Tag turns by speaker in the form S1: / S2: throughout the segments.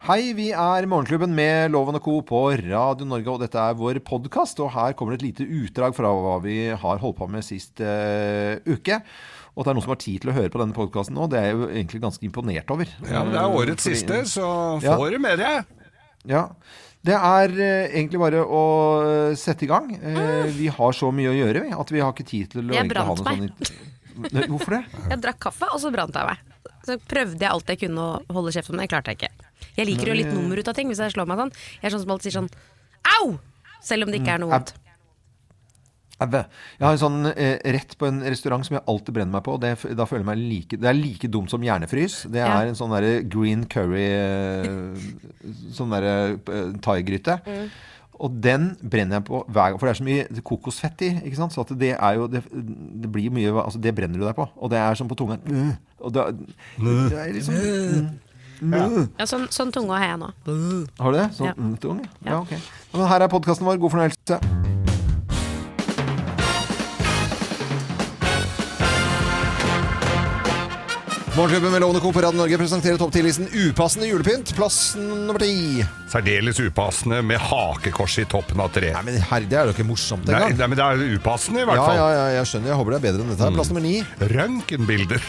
S1: Hei, vi er Morgenklubben med Loven og Co. på Radio Norge, og dette er vår podkast. Og her kommer det et lite utdrag fra hva vi har holdt på med sist eh, uke. Og at det er noen som har tid til å høre på denne podkasten nå, det er jeg jo egentlig ganske imponert over.
S2: Ja, men det er årets
S1: Fordi-
S2: siste, så
S1: Mm. Ja.
S2: får du med deg.
S1: Ja. Det er eh, egentlig bare å eh, sette i gang. Eh, vi har så mye å gjøre vi, at vi har ikke tid til å
S3: Jeg
S1: egentlig ha
S3: brant
S1: noe sånn Nei, Hvorfor det?
S3: Jeg drakk kaffe, og så brant jeg meg. Så prøvde jeg alt jeg kunne å holde kjeft om, men det klarte jeg ikke. Jeg liker jo litt nummer ut av ting hvis jeg slår meg sånn. Jeg er sånn som alltid sier sånn au! Selv om det ikke er noe vondt.
S1: Ebbe. Jeg har en sånn eh, rett på en restaurant som jeg alltid brenner meg på. Det, f- da føler jeg meg like, det er like dumt som hjernefrys. Det
S3: Ja.
S1: er en sånn derre green curry eh, Sånn derre eh, thaigryte. Og den brenner jeg på hver gang, for det er så mye kokosfett i. ikke sant? Så at det er jo Det, det blir mye altså Det brenner du deg på. Og det er sånn på tunga. Mm. Og det, det er liksom Mm. Mm.
S3: Ja, sånn, sånn tunga har jeg nå.
S1: Har du det? Sånn
S3: Ja.
S1: mm, tung? Ja,
S3: Ja.
S1: ok. Ja, men her er podkasten vår. God fornøyelse. Morgenklubben med Lovende Co. på Radio Norge presenterer topp 10-listen Upassende julepynt, plass nummer ti.
S2: Særdeles upassende med hakekors i toppen av treet.
S1: Nei, men herre, det er jo ikke morsomt
S2: Nei,
S1: engang.
S2: nei, men det er upassende i hvert
S1: Ja,
S2: fall. Mm.
S1: ja, ja, jeg skjønner. Jeg håper det er bedre enn dette. her. Plass nummer ni.
S2: Røntgenbilder.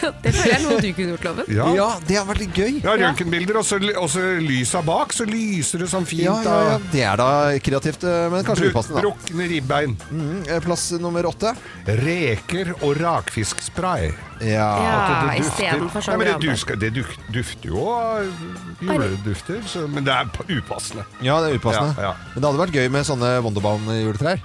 S3: Det føler jeg er noe du kunne gjort, Loven.
S2: Ja.
S1: Ja, det har vært litt gøy.
S2: Ja, røntgenbilder, og så, og så lysa bak, så lyser det sånn fint.
S1: Ja, ja, ja.
S2: av-
S1: Det er da kreativt, eh, men kanskje
S2: Bruk-
S1: upassende, da.
S2: Brukne ribbein.
S1: Mm, eh, Plass nummer åtte.
S2: Reker og rakfiskspray.
S1: Ja.
S3: Ja,
S2: Det dufter-
S3: istedenfor
S2: Nei, men
S3: sånn
S2: det,
S3: grann.
S2: dusker, det duk, dufter jo av juledufter, så, men det er p- upassende.
S1: ja, det er upassende.
S2: Ja, ja.
S1: Men det hadde vært gøy med sånne Wonderbaum-juletrær.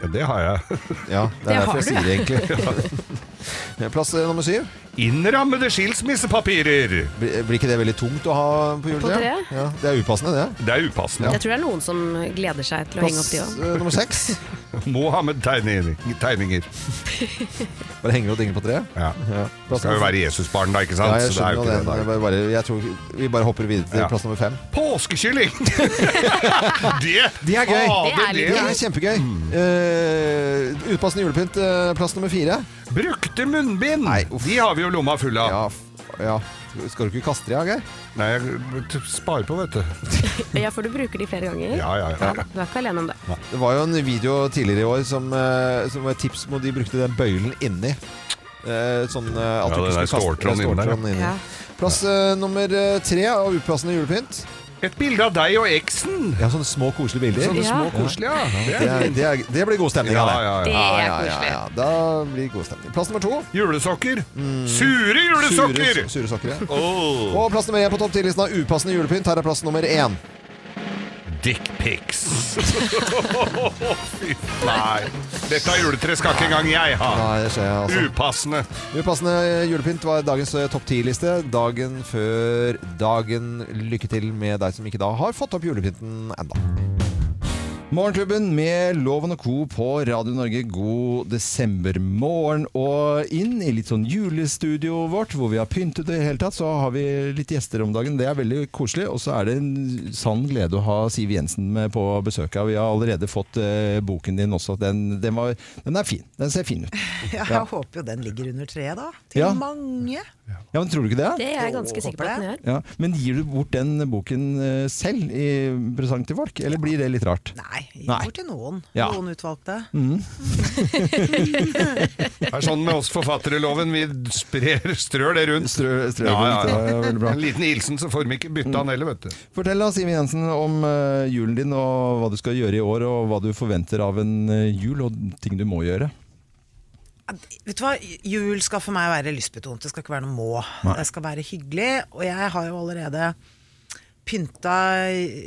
S2: Ja, det har jeg.
S1: Ja, det er
S3: Det
S1: derfor jeg sier
S3: har
S1: det egentlig. Plass eh, nummer syv.
S2: Innrammede skilsmissepapirer.
S1: Blir blir ikke det veldig tungt å ha på juletreet?
S3: treet?
S1: Ja, det er upassende, det.
S2: Det er upassende.
S3: Jeg tror det er noen som gleder seg til å henge opp de òg.
S1: eh, nummer seks.
S2: Mohammed-tegninger.
S1: Bare henger og dinger på treet.
S2: Ja.
S1: Ja.
S2: Det skal jo være Jesusbarn, da, ikke
S1: Ja,
S2: sant?
S1: jeg
S2: Så det er
S1: skjønner
S2: jo
S1: jo
S2: ikke
S1: den.
S2: det, da.
S1: Jeg Bare, bare, jeg tror vi bare hopper videre til
S2: Ja.
S1: plass nummer fem.
S2: Påskekylling! det,
S1: De er gøy.
S2: Fader,
S3: Det er litt
S1: Det
S2: det-
S1: er kjempegøy. Eh, utpassende julepynt, eh, plass nummer fire.
S2: Brukte munnbind! de har vi jo lomma full av.
S1: Ja, f ja. Skal du ikke kaste det, ja, Geir?
S2: Nei, jeg t- sparer på, vet du.
S3: Ja, for du bruker de flere ganger.
S2: Ja, ja, ja.
S3: Du er ikke alene om det.
S1: Det var jo en video tidligere i år som, eh, som var et tips om at de brukte den bøylen inni. Eh, Sånn eh, at
S2: Ja,
S1: du
S2: den
S1: ikke
S2: der
S1: skulle kaste
S2: ståltråden inni der, ja.
S1: ståltråden inni.
S3: Ja.
S1: Plass eh, nummer eh, tre av upassende julepynt.
S2: Et bilde av deg og eksen!
S1: Ja, sånne små, koselige bilder.
S2: Sånne
S3: Ja.
S2: små koselige, ja.
S1: Det,
S2: Det
S1: er,
S2: er-
S1: det, er, det blir god stemning av
S2: Ja,
S1: det.
S2: ja,
S3: Det
S2: ja.
S1: ja,
S3: er
S1: ja,
S3: koselig.
S1: ja. Da blir det god stemning. Plass nummer to.
S2: Julesokker! Sure julesokker!
S1: Mm. Sure, sure sokker. ja.
S2: Oh.
S1: Og plass nummer én på topp 10-listen av upassende julepynt. Her er plass nummer én.
S2: Dickpics. Fy Nei. Dette juletreet skal ikke engang jeg ha.
S1: Nei, det skjer, altså.
S2: Upassende.
S1: Upassende julepynt var dagens eh, topp 10-liste. Dagen før dagen. Lykke til med deg som ikke da har fått opp julepynten enda.
S4: Morgenklubben med Loven og Co. på Radio Norge. God desembermorgen. Og inn i litt sånn julestudioet vårt, hvor vi har pyntet det hele tatt, så har vi litt gjester om dagen. Det er veldig koselig. Og så er det en sann glede å ha Siv Jensen med på besøk. her. Vi har allerede fått eh, boken din også. Den, den, var, den er fin. Den ser fin ut.
S5: Ja, jeg håper jo den ligger under treet, da. Til
S4: Ja.
S5: mange.
S4: Ja, men Tror du ikke det?
S3: Det er jeg ganske
S5: Jo,
S3: sikker på
S5: håper
S3: at den gjør.
S4: Ja, men gir du bort den boken eh, selv i presang til folk, eller blir det litt rart?
S5: Nei, ikke
S4: Nei.
S5: til noen.
S4: Ja.
S5: Noen utvalgte.
S2: Det er sånn med oss forfatterloven. Vi sprer, strør det rundt.
S4: Strø, strø,
S2: Ja, ja, ja.
S4: Det er veldig bra.
S2: En liten hilsen, så får de ikke bytte han heller, vet du.
S4: Fortell da, Siv Jensen, om eh, julen din og hva du skal gjøre i år, og hva du forventer av en eh, jul, og ting du må gjøre.
S5: Vet du hva, Jul skal for meg være lystbetont. Det skal ikke være noe må.
S4: Nei.
S5: Det skal være hyggelig. Og jeg har jo allerede pynta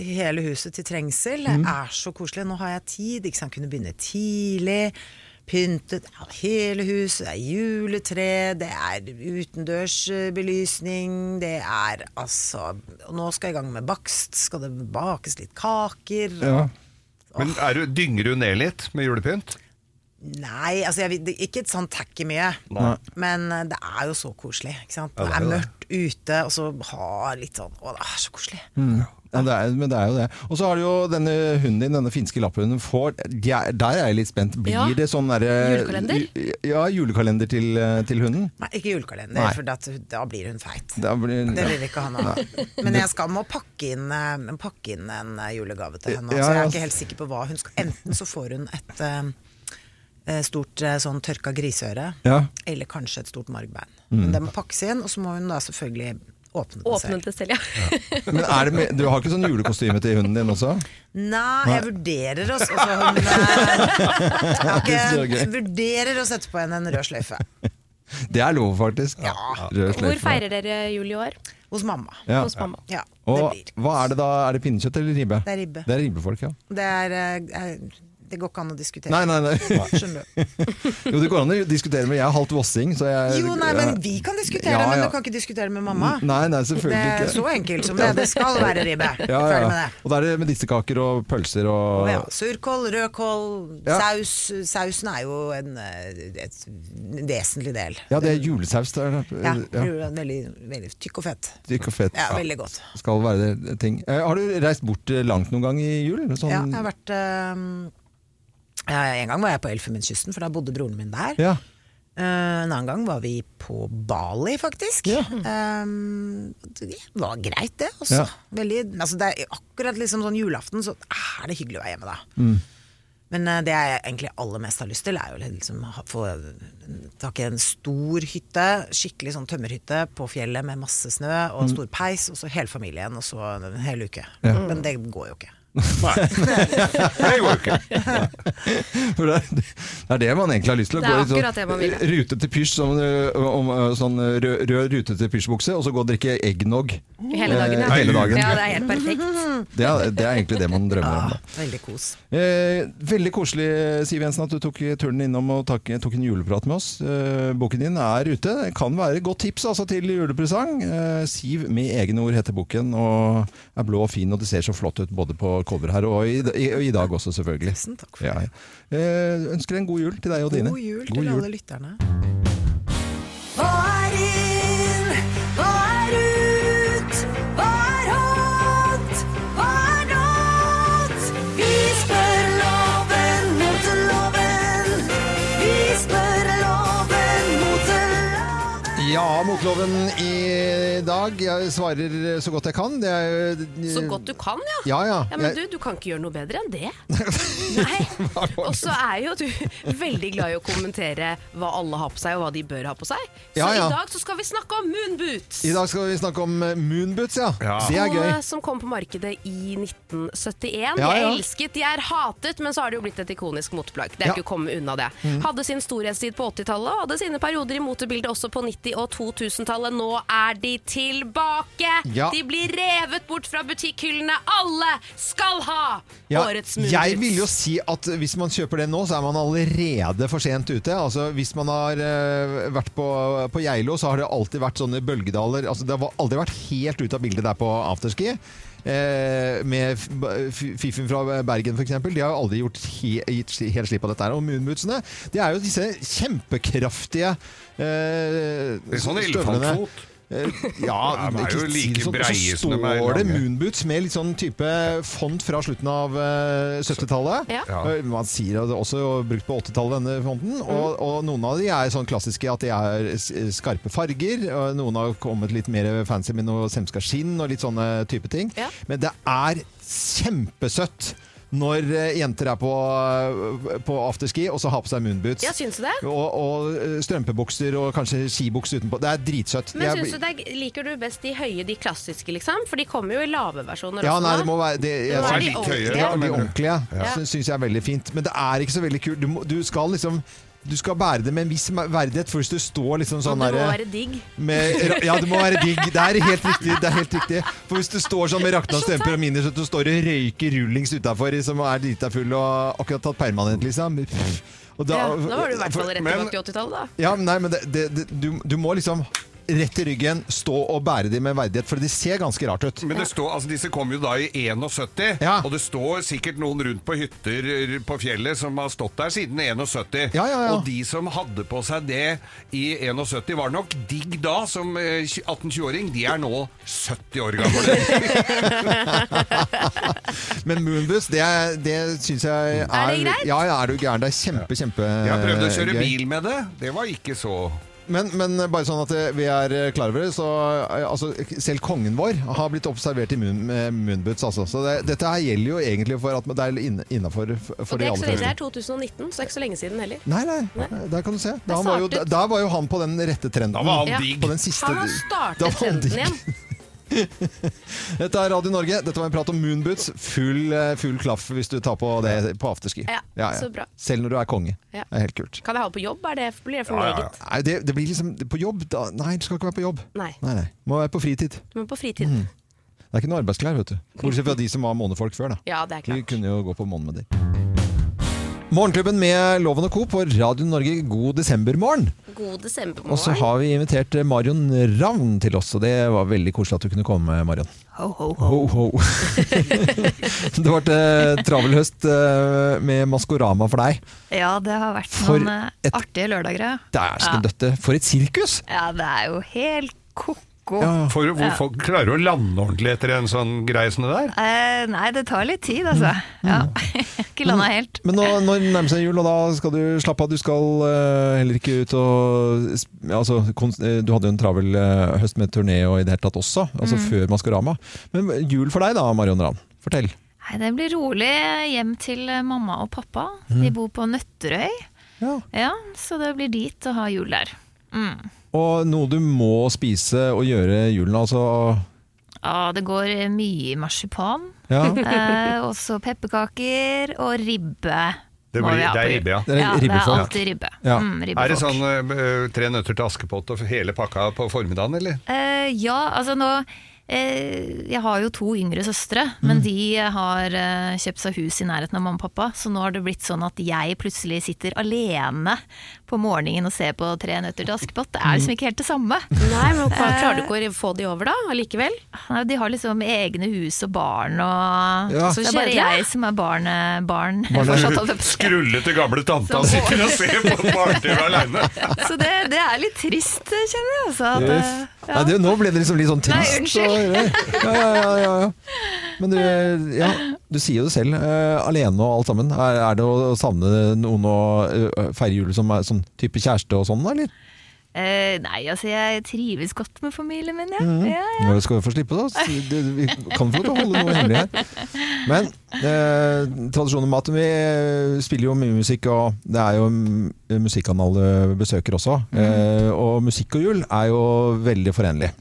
S5: hele huset til trengsel. Det er så koselig. Nå har jeg tid. Ikke sant? Kunne begynne tidlig. Pyntet ja, hele huset. Det er juletre. Det er utendørs eh, belysning. Det er altså Og nå skal jeg i gang med bakst. Skal det bakes litt kaker?
S2: Men er du, dynger du ned litt med julepynt?
S5: Nei, altså jeg, vil- det- ikke et sånn tacky mye.
S2: Nei.
S5: Men eh, det er jo så koselig. Ikke sant?
S2: Ja,
S5: det,
S2: det
S5: er
S2: er jo
S5: mørkt ute, og så ha litt sånn Å, det er så koselig.
S1: Ja, det er, men det er jo det. Og så har du jo denne hunden din, denne finske lapphunden. Får, de er, der er jeg litt spent. Blir
S3: Ja.
S1: det sånn derre
S3: Julekalender?
S1: Ja, julekalender til, eh, til hunden.
S5: Nei, ikke julekalender,
S1: Nei.
S5: for da, da blir hun feit.
S1: Da blir,
S5: Det vil vi ikke ha nå. Men jeg skal må pakke inn, eh, pakke inn en eh, julegave til henne.
S1: Ja,
S5: Så jeg
S1: ja.
S5: er ikke helt sikker på hva hun skal Enten så får hun et eh, stort eh, sånn tørka griseøre,
S1: Ja.
S5: eller kanskje et stort margbein. Men det må pakkes inn, og så må hun da selvfølgelig åpne det
S3: Åpnet
S5: selv.
S3: det selv, ja.
S1: Men er det med, du har ikke sånn julekostyme til hunden din også?
S5: Nei, jeg vurderer oss altså, hun, eh, jeg har
S1: Det er
S5: ikke,
S1: gøy.
S5: jeg vurderer å sette på henne en rød sløyfe.
S1: Det er lov, faktisk. Rød sløyfe.
S3: Hvor feirer dere jul i år?
S5: Hos mamma.
S1: Ja.
S3: Hos mamma.
S5: Ja, det
S1: Og
S5: blir.
S1: hva er det da? Er det pinnekjøtt eller ribbe?
S5: Det er ribbe.
S1: Det er ribbefolk, ja.
S5: Det, er, eh, eh, det går ikke an å diskutere.
S1: Nei, nei, nei.
S5: Skjønner du.
S1: Jo, det går an å diskutere, men jeg er halvt vossing, så jeg
S5: Jo, nei, men vi kan diskutere
S1: Ja,
S5: det, men
S1: ja.
S5: du kan ikke diskutere med mamma.
S1: Nei, nei,
S5: Det
S1: selvfølgelig
S5: er
S1: ikke.
S5: så enkelt som det. Det skal være ribbe.
S1: Ja,
S5: Ferdig med
S1: ja.
S5: det.
S1: Og da er det medisterkaker og pølser
S5: Og
S1: og
S5: Ja, surkål, rødkål,
S1: Ja.
S5: saus. Sausen er jo en, eh, et, en vesentlig del.
S1: Ja, det er julesaus der.
S5: Ja,
S1: Ja.
S5: veldig, veldig tykk og fett.
S1: Tykk og fett.
S5: Ja, Veldig godt.
S1: Skal være det ting. Eh, har du reist bort eh, langt noen gang i julen? Sånn...
S5: Ja, jeg har vært eh, ja, En gang var jeg på Elfenbenskysten, for da bodde broren min der.
S1: Ja.
S5: Eh, en annen gang var vi på Bali, faktisk.
S1: Ja.
S5: Eh, det var greit, det. Også.
S1: Ja.
S5: Veldig, altså det er akkurat liksom sånn julaften, så er det hyggelig å være hjemme da.
S1: Mm.
S5: Men eh, det jeg egentlig aller mest har lyst til, er jo liksom å ha- få tak i en stor hytte, skikkelig sånn tømmerhytte på fjellet med masse snø og
S1: Mm.
S5: en stor peis, og så hele familien, og så en hel uke. Men det går jo ikke.
S2: Nei. Det går jo ikke.
S1: For det, er- det er det man egentlig har lyst til. å
S3: Det er
S1: gå i sånn
S3: akkurat det man vil.
S1: Rute til pysj, som, eh, om, eh, sånn eh, rød, rød rute til pysjbukse, og så gå og drikke eggnog.
S3: Hele dagen,
S1: Eh, hele dagen.
S3: Ja, det er helt perfekt.
S1: Det er, det er egentlig det man drømmer om.
S5: Ah,
S1: Da.
S5: veldig kos.
S1: Eh, veldig koselig, Siv Jensen, at du tok turen innom og tak, tok en juleprat med oss. Eh, boken din er ute. Det kan være et godt tips altså, til julepresang. Eh, Siv med egne ord heter boken, og er blå og fin, og det ser så flott ut både på cover her og i, i, og i dag også, selvfølgelig.
S5: Tusen takk for
S1: Ja, ja. Eh, ønsker en god jul til deg og dine.
S5: God jul til alle lytterne.
S6: Hva er inn? Hva er ut? Hva er hot? Hva er not? Vi spør loven mot loven. Vi spør loven mot loven.
S1: Ja, Motloven i dag. Jeg svarer så godt jeg kan. Det er, jo-
S3: Så godt du kan, ja.
S1: Ja, ja.
S3: Ja, men
S1: Jeg-
S3: du, du kan ikke gjøre noe bedre enn det. Nei. Og så er jo du veldig glad i å kommentere hva alle har på seg, og hva de bør ha på seg. Så
S1: Ja, ja.
S3: i dag så skal vi snakke om moonboots.
S1: I dag skal vi snakke om eh, moonboots, ja.
S2: Ja.
S1: Det er gøy.
S3: Noe Som kom på markedet i 1971.
S1: Ja,
S3: De
S1: ja.
S3: er elsket, de er hatet, men så har det jo blitt et ikonisk moteplagg. Det er
S1: Ja. Mm.
S3: ikke å komme unna det. Hadde sin storhetstid på 80-tallet og hadde sine perioder i motebildet også på 90- og 2000-tallet. Nå er de tilbake!
S1: Ja.
S3: De blir revet bort fra butikkhyllene. Alle skal ha
S1: Ja,
S3: årets
S1: jeg vil jo
S3: moonboots.
S1: si at hvis man kjøper den nå, så er man allerede for sent ute. Altså, hvis man har eh, vært på, på Geilo, så har det alltid vært sånne bølgedaler. Altså, det har aldri vært helt ute av bildet der på afterski. Eh, med f- b- f- Fiffen fra Bergen f.eks. De har jo aldri gjort he gitt sli- helt slipp av dette. her Og moonbootsene Det er jo disse kjempekraftige eh,
S2: Det er sånn
S1: støvlene.
S2: elefantfot.
S1: Eh, Ja,
S2: Ja, de er jo
S1: ikke si
S2: like
S1: det sånn. Og
S2: breie
S1: Så
S2: som de er
S1: står det
S2: lange.
S1: Moonboots med litt sånn type font fra slutten av eh, 70-tallet.
S3: Ja.
S2: Ja.
S1: Eh, Man sier at det er også brukt på 80-tallet, denne fonten. Og,
S3: Mm.
S1: og noen av de er sånn klassiske at de er s- skarpe farger. Og noen har kommet litt mer fancy med noe semska skinn og litt sånne type ting.
S3: Ja.
S1: Men det er kjempesøtt når eh, jenter er på, på afterski og så har på seg moonboots.
S3: Ja, syns du det?
S1: Og, og eh, strømpebukser og kanskje skibukse utenpå. Det er dritsøtt.
S3: Men
S1: Jeg-
S3: syns du det er, liker du best de høye, de klassiske, liksom? For de kommer jo i lave versjoner
S1: Ja,
S3: også
S1: nei,
S3: nå.
S1: det må være det, jeg,
S3: Det må
S2: være
S1: synes-
S2: litt
S1: Ja,
S2: høyere,
S1: de
S2: mener du?
S1: ordentlige
S3: Ja.
S1: sy- syns jeg er veldig fint. Men det er ikke så veldig kult. Du, må, du skal liksom du skal bære det med en viss verdighet først du står liksom sånn
S3: det må
S1: derre
S3: være digg.
S1: med, ra- Ja, det må være digg. Det er helt riktig. Det er helt riktig. For hvis du står sånn med rakna stemper og miner, så du står og røyker rullings utafor som er drita full og akkurat tatt permanent, liksom og
S3: Ja, da var du i hvert
S1: for-
S3: fall rett
S2: Men-
S3: tilbake til 80-tallet, da.
S1: ja, men nei, men det, det, det, du, du må liksom rett i ryggen, stå og bære de med verdighet, for de ser ganske rart ut.
S2: Men det står, altså disse kom jo da i 71,
S1: Ja.
S2: og det står sikkert noen rundt på hytter r- på fjellet som har stått der siden 71.
S1: Ja, ja, ja.
S2: Og de som hadde på seg det i 71, var nok digg da som eh, 18-20-åring. De er nå 70 år gamle.
S1: Men Moonbus, det, er- det syns jeg er
S3: greit?
S1: Ja, ja, er du gæren. Det er kjempe, kjempe
S2: Jeg prøvde å kjøre
S1: Eh, gøy.
S2: bil med det. Det var ikke så
S1: Men, men bare sånn at eh, vi er eh, klar over det, så eh, altså, selv kongen vår har blitt observert i moon, eh, moonboots. Altså. Så det, dette her gjelder jo egentlig for at det er innafor for,
S3: Og
S1: for
S3: det
S1: de aller
S3: er, ikke så lenge, det
S1: fleste.
S3: er 2019, så det er ikke så lenge siden heller.
S1: Nei, nei, der kan du se. Da var,
S3: er
S1: jo,
S3: smart ut.
S1: da var jo han på den rette trenden.
S2: Da var han
S3: Ja.
S2: digg.
S1: på den siste,
S3: Han har
S1: Da
S3: startet
S1: var han
S3: trenden
S1: digg.
S3: igjen.
S1: Dette er Radio Norge. Dette var en prat om moonboots. Full, eh, full klaff hvis du tar på det på afterski.
S3: Ja, så bra.
S1: Selv når du er konge.
S3: Ja.
S1: Det er helt kult.
S3: Kan jeg ha det på jobb? Er det, blir det for
S2: Ja, ja,
S3: meget?
S2: ja.
S1: Nei, det, det blir liksom på jobb da. Nei, du skal ikke være på jobb.
S3: Nei.
S1: Nei, nei. Må være på fritid.
S3: Men på fritiden?
S1: Det er ikke noe arbeidsklær, vet du. Bortsett fra de som var månefolk før, da.
S3: Ja, det er
S1: De
S3: klart.
S1: kunne jo gå på månen med de. Morgenklubben med Loven og Co. på Radio Norge god desembermorgen.
S3: God
S1: Og så
S3: desembermorgen.
S1: har vi invitert eh, Marion Ravn til oss, og det var veldig koselig at du kunne komme, Marion.
S3: Ho, ho, ho.
S1: Ho, ho. det har vært eh, travel høst eh, med Maskorama for deg.
S7: Ja, det har vært
S1: For
S7: noen eh,
S1: et-
S7: artige lørdager. ja.
S1: Dæsken døtte, for et sirkus!
S7: Ja, det er jo helt ko-ko.
S2: For hvor folk klarer å lande ordentlig etter en sånn greie som det der.
S7: Eh, nei, det tar litt tid, altså.
S1: Mm.
S7: Ja. Ikke landa helt.
S1: Men nå, nå nærmer det seg jul, og da skal du slappe av. Du skal eh, heller ikke ut og sp- altså, kons- eh, Du hadde jo en travel eh, høst med turné og i det hele tatt også,
S7: Mm.
S1: altså før Maskorama. Men jul for deg da, Marion Ravn. Fortell.
S7: Nei, det blir rolig hjem til eh, mamma og pappa.
S1: Mm.
S7: De bor på Nøtterøy.
S1: Ja.
S7: Ja, så det blir dit å ha jul der. Mm.
S1: Og noe du må spise og gjøre i julen, altså.
S7: Ja, det går eh, mye i marsipan.
S1: Ja.
S7: Eh, også pepperkaker og ribbe.
S2: Det,
S7: må
S2: blir,
S7: vi ha
S2: det er
S7: på jul.
S2: ribbe, ja.
S1: Det er
S7: Ja, det er
S1: ribbefolk.
S7: alltid ribbe.
S1: Ja.
S7: Mm, ribbefolk.
S2: Er det sånn eh, tre nøtter til Askepott og hele pakka på formiddagen, eller?
S7: Eh, ja, altså nå eh, Jeg har jo to yngre søstre,
S1: Mm.
S7: men de har eh, kjøpt seg hus i nærheten av mamma og pappa, så nå har det blitt sånn at jeg plutselig sitter alene på morgenen og ser på Tre nøtter til Askepott. Det er liksom ikke helt det samme.
S3: Nei, men hva- klarer du ikke å få de over da, allikevel?
S7: Nei, De har liksom egne hus og barn og
S1: Ja.
S7: Så det er bare
S3: Kjedelig, da.
S7: jeg som er barn, barn,
S1: Barn-
S7: fortsatt. holdt jeg på å si.
S2: Skrullete gamle tanta sitter og ser på en barne-TV aleine.
S7: Så det, det er litt trist, kjenner jeg. Altså, at, eh,
S1: Nei, det, nå ble det liksom litt sånn trist.
S7: Nei, unnskyld.
S1: og- Ja, ja, ja, ja, ja. Men du, eh, ja, du sier jo det selv. eh, alene og alt sammen. Er, er det å savne noen å eh, feire jul som er sånn type kjæreste og sånn, eller?
S7: eh, nei, altså jeg trives godt med familien min, jeg.
S1: Mm.
S7: Ja, ja.
S1: Når skal vi få slippe, da? Så det- Vi kan få lov til å holde noe hemmelig her. Men eh, tradisjon og mat Vi eh, spiller jo mye musikk, og det er jo mm, musikkanal eh, besøker også. Eh, og musikk og jul er jo veldig forenlig.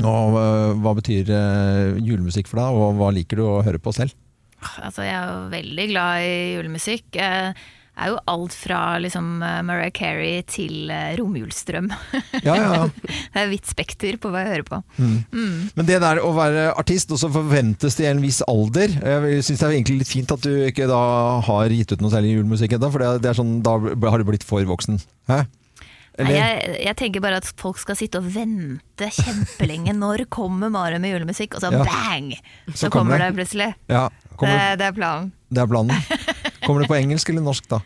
S1: Og eh, hva betyr eh, julemusikk for deg, og hva liker du å høre på selv?
S7: Altså, jeg er jo veldig glad i julemusikk. Jeg er jo alt fra liksom, eh, Mariah Carey til eh, romjulsdrøm.
S1: Ja, ja, ja.
S7: det er vidt spekter på hva jeg hører på.
S1: Men det der å være artist, og så forventes det i en viss alder Jeg syns det er egentlig litt fint at du ikke da har gitt ut noe særlig julemusikk ennå, for det er, det er sånn, da har du blitt for voksen. Hæ?
S7: Nei,
S1: Eller?
S7: jeg, jeg tenker bare at folk skal sitte og vente kjempelenge. Når kommer Mariah med julemusikk? Og så
S1: Ja.
S7: bang!
S1: Så
S7: Så,
S1: kommer
S7: kommer det
S1: det.
S7: plutselig.
S1: Ja,
S7: Det,
S1: kommer,
S7: det er planen.
S1: det er planen. Kommer det på engelsk eller norsk, da?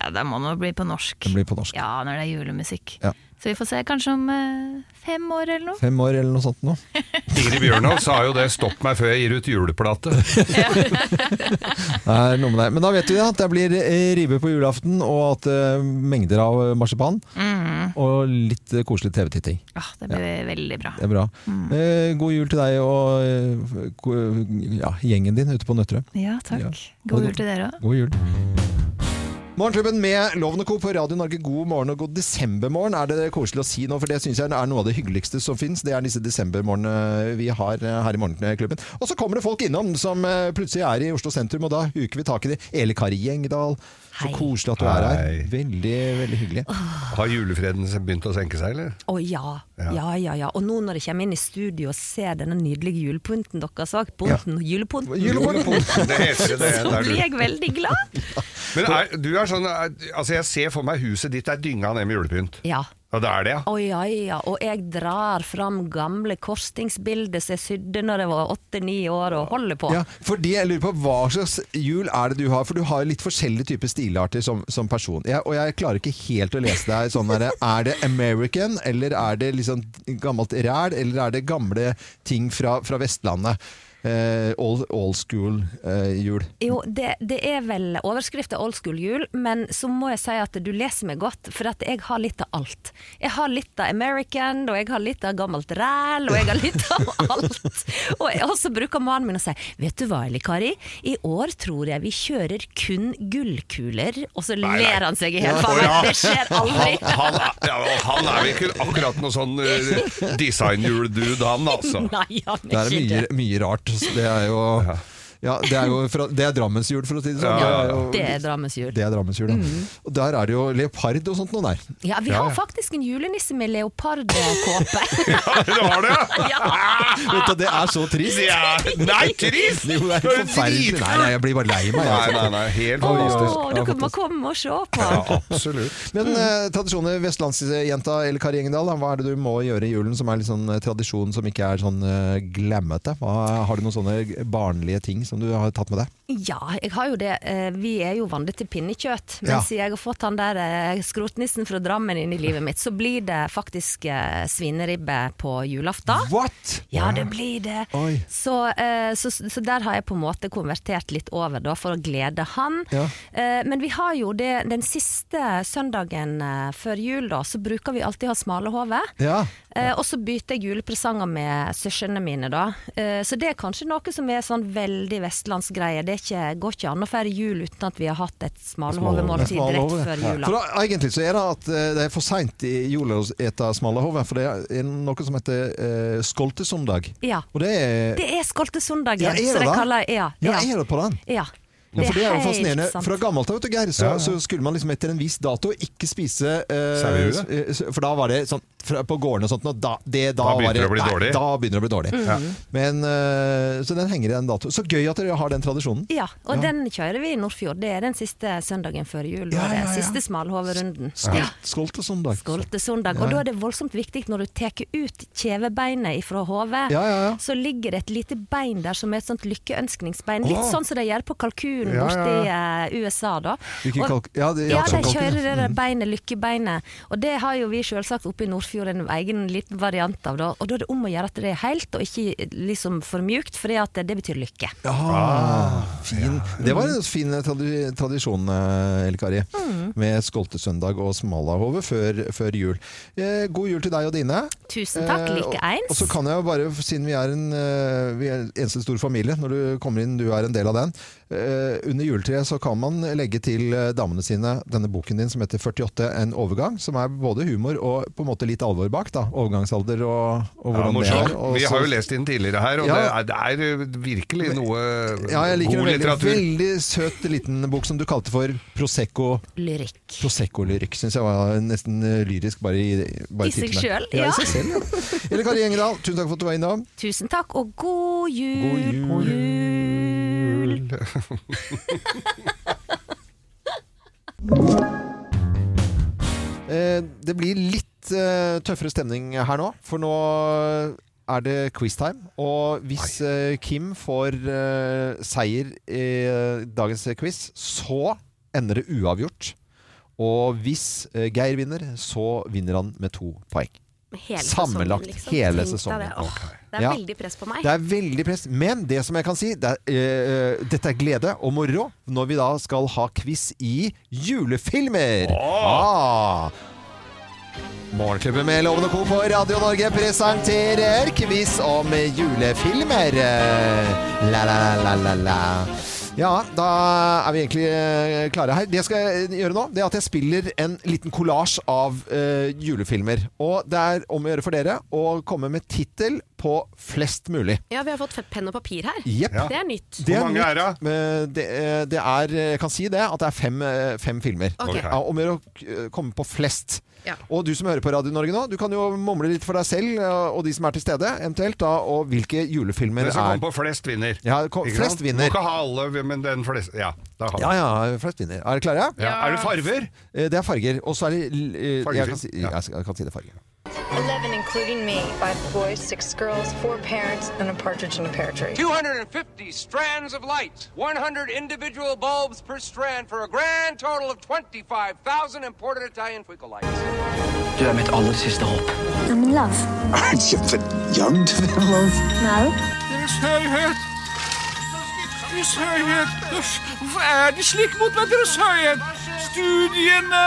S7: Ja, det må nå bli på norsk.
S1: Det blir på norsk.
S7: Ja, når det er julemusikk.
S1: Ja.
S7: Så vi får se kanskje om eh, fem år eller noe.
S1: Fem år eller noe sånt nå.
S2: Ingrid Bjørnov sa jo det 'stopp meg før jeg gir ut juleplate'.
S1: Det er noe med deg. Men da vet vi at det blir eh, ribbe på julaften, og at eh, mengder av marsipan. Og litt eh, koselig TV-titting.
S7: Åh, det blir veldig bra.
S1: Det er bra. Eh, god jul til deg og eh, ko- ja, gjengen din ute på Nøtterøy.
S7: Ja, takk.
S1: Ja.
S7: God jul til dere òg.
S1: God jul. Morgenklubben med Loven og Co. på Radio Norge, god morgen og god desembermorgen. Er det koselig å si nå, for det syns jeg er noe av det hyggeligste som fins. Det er disse desembermorgenene vi har eh, her i Morgenklubben. Og så kommer det folk innom som eh, plutselig er i Oslo sentrum, og da huker vi tak i det. Eli Kari Gjengdal. Så
S7: Hei.
S1: koselig at du er her.
S2: Hei.
S1: Veldig, veldig hyggelig.
S2: Har julefreden begynt å senke seg, eller?
S6: Å ja. ja, ja, ja. Og nå når jeg kommer inn i studio og ser denne nydelige julepynten deres òg, bunten, julepynten
S1: Julepodden.
S2: Det heter det, det.
S7: Så
S2: er
S7: blir
S2: du.
S7: jeg veldig glad.
S2: eh, Men er, du er sånn er- Altså, jeg ser for meg huset ditt er dynga ned med julepynt.
S6: Ja.
S2: Ja, det er det, ja.
S3: Å ja, ja. Og jeg drar fram gamle korsstingsbilder som jeg sydde når jeg var åtte-ni år og holder på.
S1: Ja, for det jeg lurer på, Hva slags hjul er det du har? For du har jo litt forskjellige typer stilarter som, som person. Jeg, og jeg klarer ikke helt å lese deg sånn der, Er det American, eller er det liksom gammelt ræl, eller er det gamle ting fra, fra Vestlandet? Eh, old, old school eh, hjul.
S3: Jo, det, det er vel overskriften old school jul, men så må jeg si at du leser meg godt, for at jeg har litt av alt. Jeg har litt av American, og jeg har litt av gammelt ræl, og jeg har litt av alt. Og jeg også bruker mannen min og sier, vet du hva, Eli Kari, i år tror jeg vi kjører kun gullkuler, og så
S2: nei.
S3: ler han seg i hjel.
S2: Å,
S3: faen meg,
S2: ja.
S3: Det skjer aldri.
S2: Han, han, er- ja, og han er vel ikke akkurat noe sånn uh, designhjul-dude, han altså.
S3: Nei, han
S1: Det
S3: er
S1: er
S3: ikke
S1: mye,
S3: det.
S1: mye rart. så Det er jo, ja, det er jo fra, det er Drammenshjul, for å si det sånn.
S2: Ja,
S1: Det er jo-
S3: Det er Drammens jul.
S1: Det er Drammensjul, ja. Og der er det jo leopard og sånt noe der.
S3: Mm. Ja, vi
S2: Ja,
S3: har
S2: ja.
S3: faktisk en julenisse med leopardkåpe.
S2: Det var det, ja!
S1: Vet du, det er så trist.
S2: Det er, nei, trist!
S1: Jo, det er forferdelig. Nei, nei, jeg blir bare lei meg.
S2: Nei,
S1: jeg.
S2: nei, nei, helt
S3: Å,
S2: fantastisk.
S3: dere må komme og se på.
S2: Ja, absolutt.
S1: Men eh, tradisjoner, vestlandsjenta eller Kari Engedal, hva er det du må gjøre i julen som er litt sånn eh, tradisjon som ikke er sånn eh, glemmete? Hva, har du noen sånne barnlige ting som du har tatt med deg?
S3: Ja, jeg har jo det. Eh, Vi er jo vant til pinnekjøtt. Men
S1: Ja.
S3: siden jeg har fått han der eh, skrotnissen fra Drammen inn i livet mitt, så blir det faktisk eh, svineribbe på julaften.
S1: What?!
S3: Ja, det blir det.
S1: Oi.
S3: Så, eh, så, så der har jeg på en måte konvertert litt over, da, for å glede han.
S1: Ja.
S3: Eh, men vi har jo det den siste søndagen eh, før jul, da, så bruker vi alltid å ha smalahove.
S1: Ja.
S3: Eh, og så bytter jeg julepresanger med søsknene mine, da. Eh, så det er kanskje noe som er sånn veldig vestlandsgreie. Det er ikke, går ikke an å feire jul uten at vi har hatt et smalahovemåltid rett
S1: Smalahove.
S3: før
S1: For
S3: jula.
S1: da, egentlig så er det at eh, det er for seint i jula å ete smalahove, for det er noe som heter eh, skoltesøndag.
S3: Ja.
S1: Og det er
S3: Det er skoltesøndagen,
S1: Ja, er det
S3: så det
S1: da?
S3: kaller ja,
S1: Ja, er det på den?
S3: Ja.
S1: Ja, for det er jo
S3: helt
S1: fascinerende.
S3: sant.
S1: Fra gammelt av, vet du, Geir, så, så skulle man liksom etter en viss dato ikke spise eh,
S2: Sauehue?
S1: s- eh, s- For da var det sånn fra, på gården og sånt, og da, det, da,
S2: Da
S1: var
S2: begynte det å bli
S1: nei,
S2: dårlig.
S1: Da begynner det å bli dårlig. Men, eh, så den henger i den datoen. Så gøy at dere har den tradisjonen.
S3: Ja, og den kjører vi i Nordfjord. Det er den siste søndagen før jul.
S1: Ja,
S3: og det er
S1: ja, ja.
S3: Siste smalhoverunden.
S1: Skolt, skolt og sånn dag.
S3: Skoltesøndag. Og da er det voldsomt viktig når du tar ut kjevebeinet fra hodet,
S1: Ja, ja, ja.
S3: så ligger det et lite bein der som er et sånt lykkeønskningsbein. Litt
S2: Åh.
S3: sånn som de gjør på kalkunen
S2: Ja,
S3: borte
S2: ja,
S3: i eh, USA, da.
S1: Hvilken
S3: Og-
S1: kalk- ja, det- ja,
S3: ja,
S1: sånn
S3: de
S1: kalkun,
S3: kjører det der beinet, lykkebeinet. Og det har jo vi selvsagt oppe i Nordfjord en egen liten variant av, da. Og da er det om å gjøre at det er helt, og ikke eh, liksom for mjukt, for det betyr lykke.
S1: Ah, fin. Det var en fin eh, tradi tradisjon, eh, Elle Kari. Med skoltesøndag og smalahove før, før jul. Eh, god jul til deg og dine.
S3: Tusen takk,
S1: Eh,
S3: like
S1: og-
S3: eins.
S1: Og så kan jeg jo bare, siden vi er en eh, vi er eneste stor familie, når du kommer inn, du er en del av den. eh, under juletreet så kan man legge til eh, damene sine denne boken din som heter 48 en overgang, som er både humor og på en måte litt alvor bak. da, Overgangsalder og, og
S2: Ja,
S1: hvordan det
S2: morsomt.
S1: er. Og
S2: Vi
S1: så-
S2: har jo lest den tidligere her, og
S1: Ja.
S2: det, er, det er virkelig noe
S1: ja, jeg liker en
S2: god
S1: veldig,
S2: litteratur.
S1: veldig søt liten bok som du kalte for Prosecco.
S3: Lyrikk.
S1: Prosecco-lyrikk syns jeg var nesten eh, lyrisk bare i, bare
S3: I seg
S1: tittelen.
S3: selv,
S1: Ja,
S3: ja.
S1: i seg selv, ja. Eller Kari Engedal, tusen takk for at du var innom.
S3: Tusen takk, og god jul!
S1: God jul.
S3: God jul.
S1: Eh, det blir litt eh, tøffere stemning her nå, for nå er det quiztime. Og hvis eh, Kim får eh, seier i eh, dagens quiz, så ender det uavgjort. Og hvis eh, Geir vinner, så vinner han med to poeng.
S8: Hele
S1: Sammenlagt
S8: sesongen, liksom.
S1: hele
S8: Tenk deg
S1: sesongen.
S8: Det. Åh, det er
S1: Ja.
S8: veldig press på meg.
S1: Det er veldig press. Men det som jeg kan si, det er, eh, dette er glede og moro når vi da skal ha quiz i julefilmer. Ah. Morgenklubben med Lovende Co. på Radio Norge presenterer quiz om julefilmer. La, la, la, la, la. Ja, da er vi egentlig eh, klare her. Det jeg skal gjøre nå, det er at jeg spiller en liten kollasj av eh, julefilmer. Og det er om å gjøre for dere å komme med tittel på flest mulig.
S8: Ja, vi har fått penn og papir her.
S1: Jepp.
S8: Det er nytt.
S1: Det
S2: Hvor mange
S1: nytt,
S2: er det?
S1: men Det, eh, det er, jeg kan si det, at det er fem, eh, fem filmer.
S8: Ok.
S1: Ja, om å gjøre å k- komme på flest.
S3: Ja.
S1: Og du som hører på Radio Norge nå, du kan jo mumle litt for deg selv eh, og de som er til stede, eventuelt, da, og hvilke julefilmer
S2: Den som
S1: er
S2: kommer på flest, vinner.
S1: Ja, kom-
S2: Ikke
S1: flest
S2: sant?
S1: vinner.
S2: Må ikke ha alle, men den flest Ja, da har vi
S1: Ja, ja, flest vinner. Er dere klare?
S2: Ja. Er det farver?
S1: Eh, Det er farger. Og så er det eh,
S2: Fargefilm.
S1: jeg, kan si,
S2: Ja.
S1: jeg, skal- jeg kan si det er farger.
S9: 11, including me, five boys, six girls, four parents, and a partridge in a pear tree.
S10: 250 strands of light, 100 individual bulbs per strand for a grand total of 25,000 imported Italian twinkle lights.
S11: Du er mitt aller siste håp.
S4: I'm in love.
S11: Aren't you but young to be in love?
S4: No.
S10: Deres Høyhet! Deres Høyhet! Uff, Hvorfor er De slik mot meg, Deres Høyhet? Studiene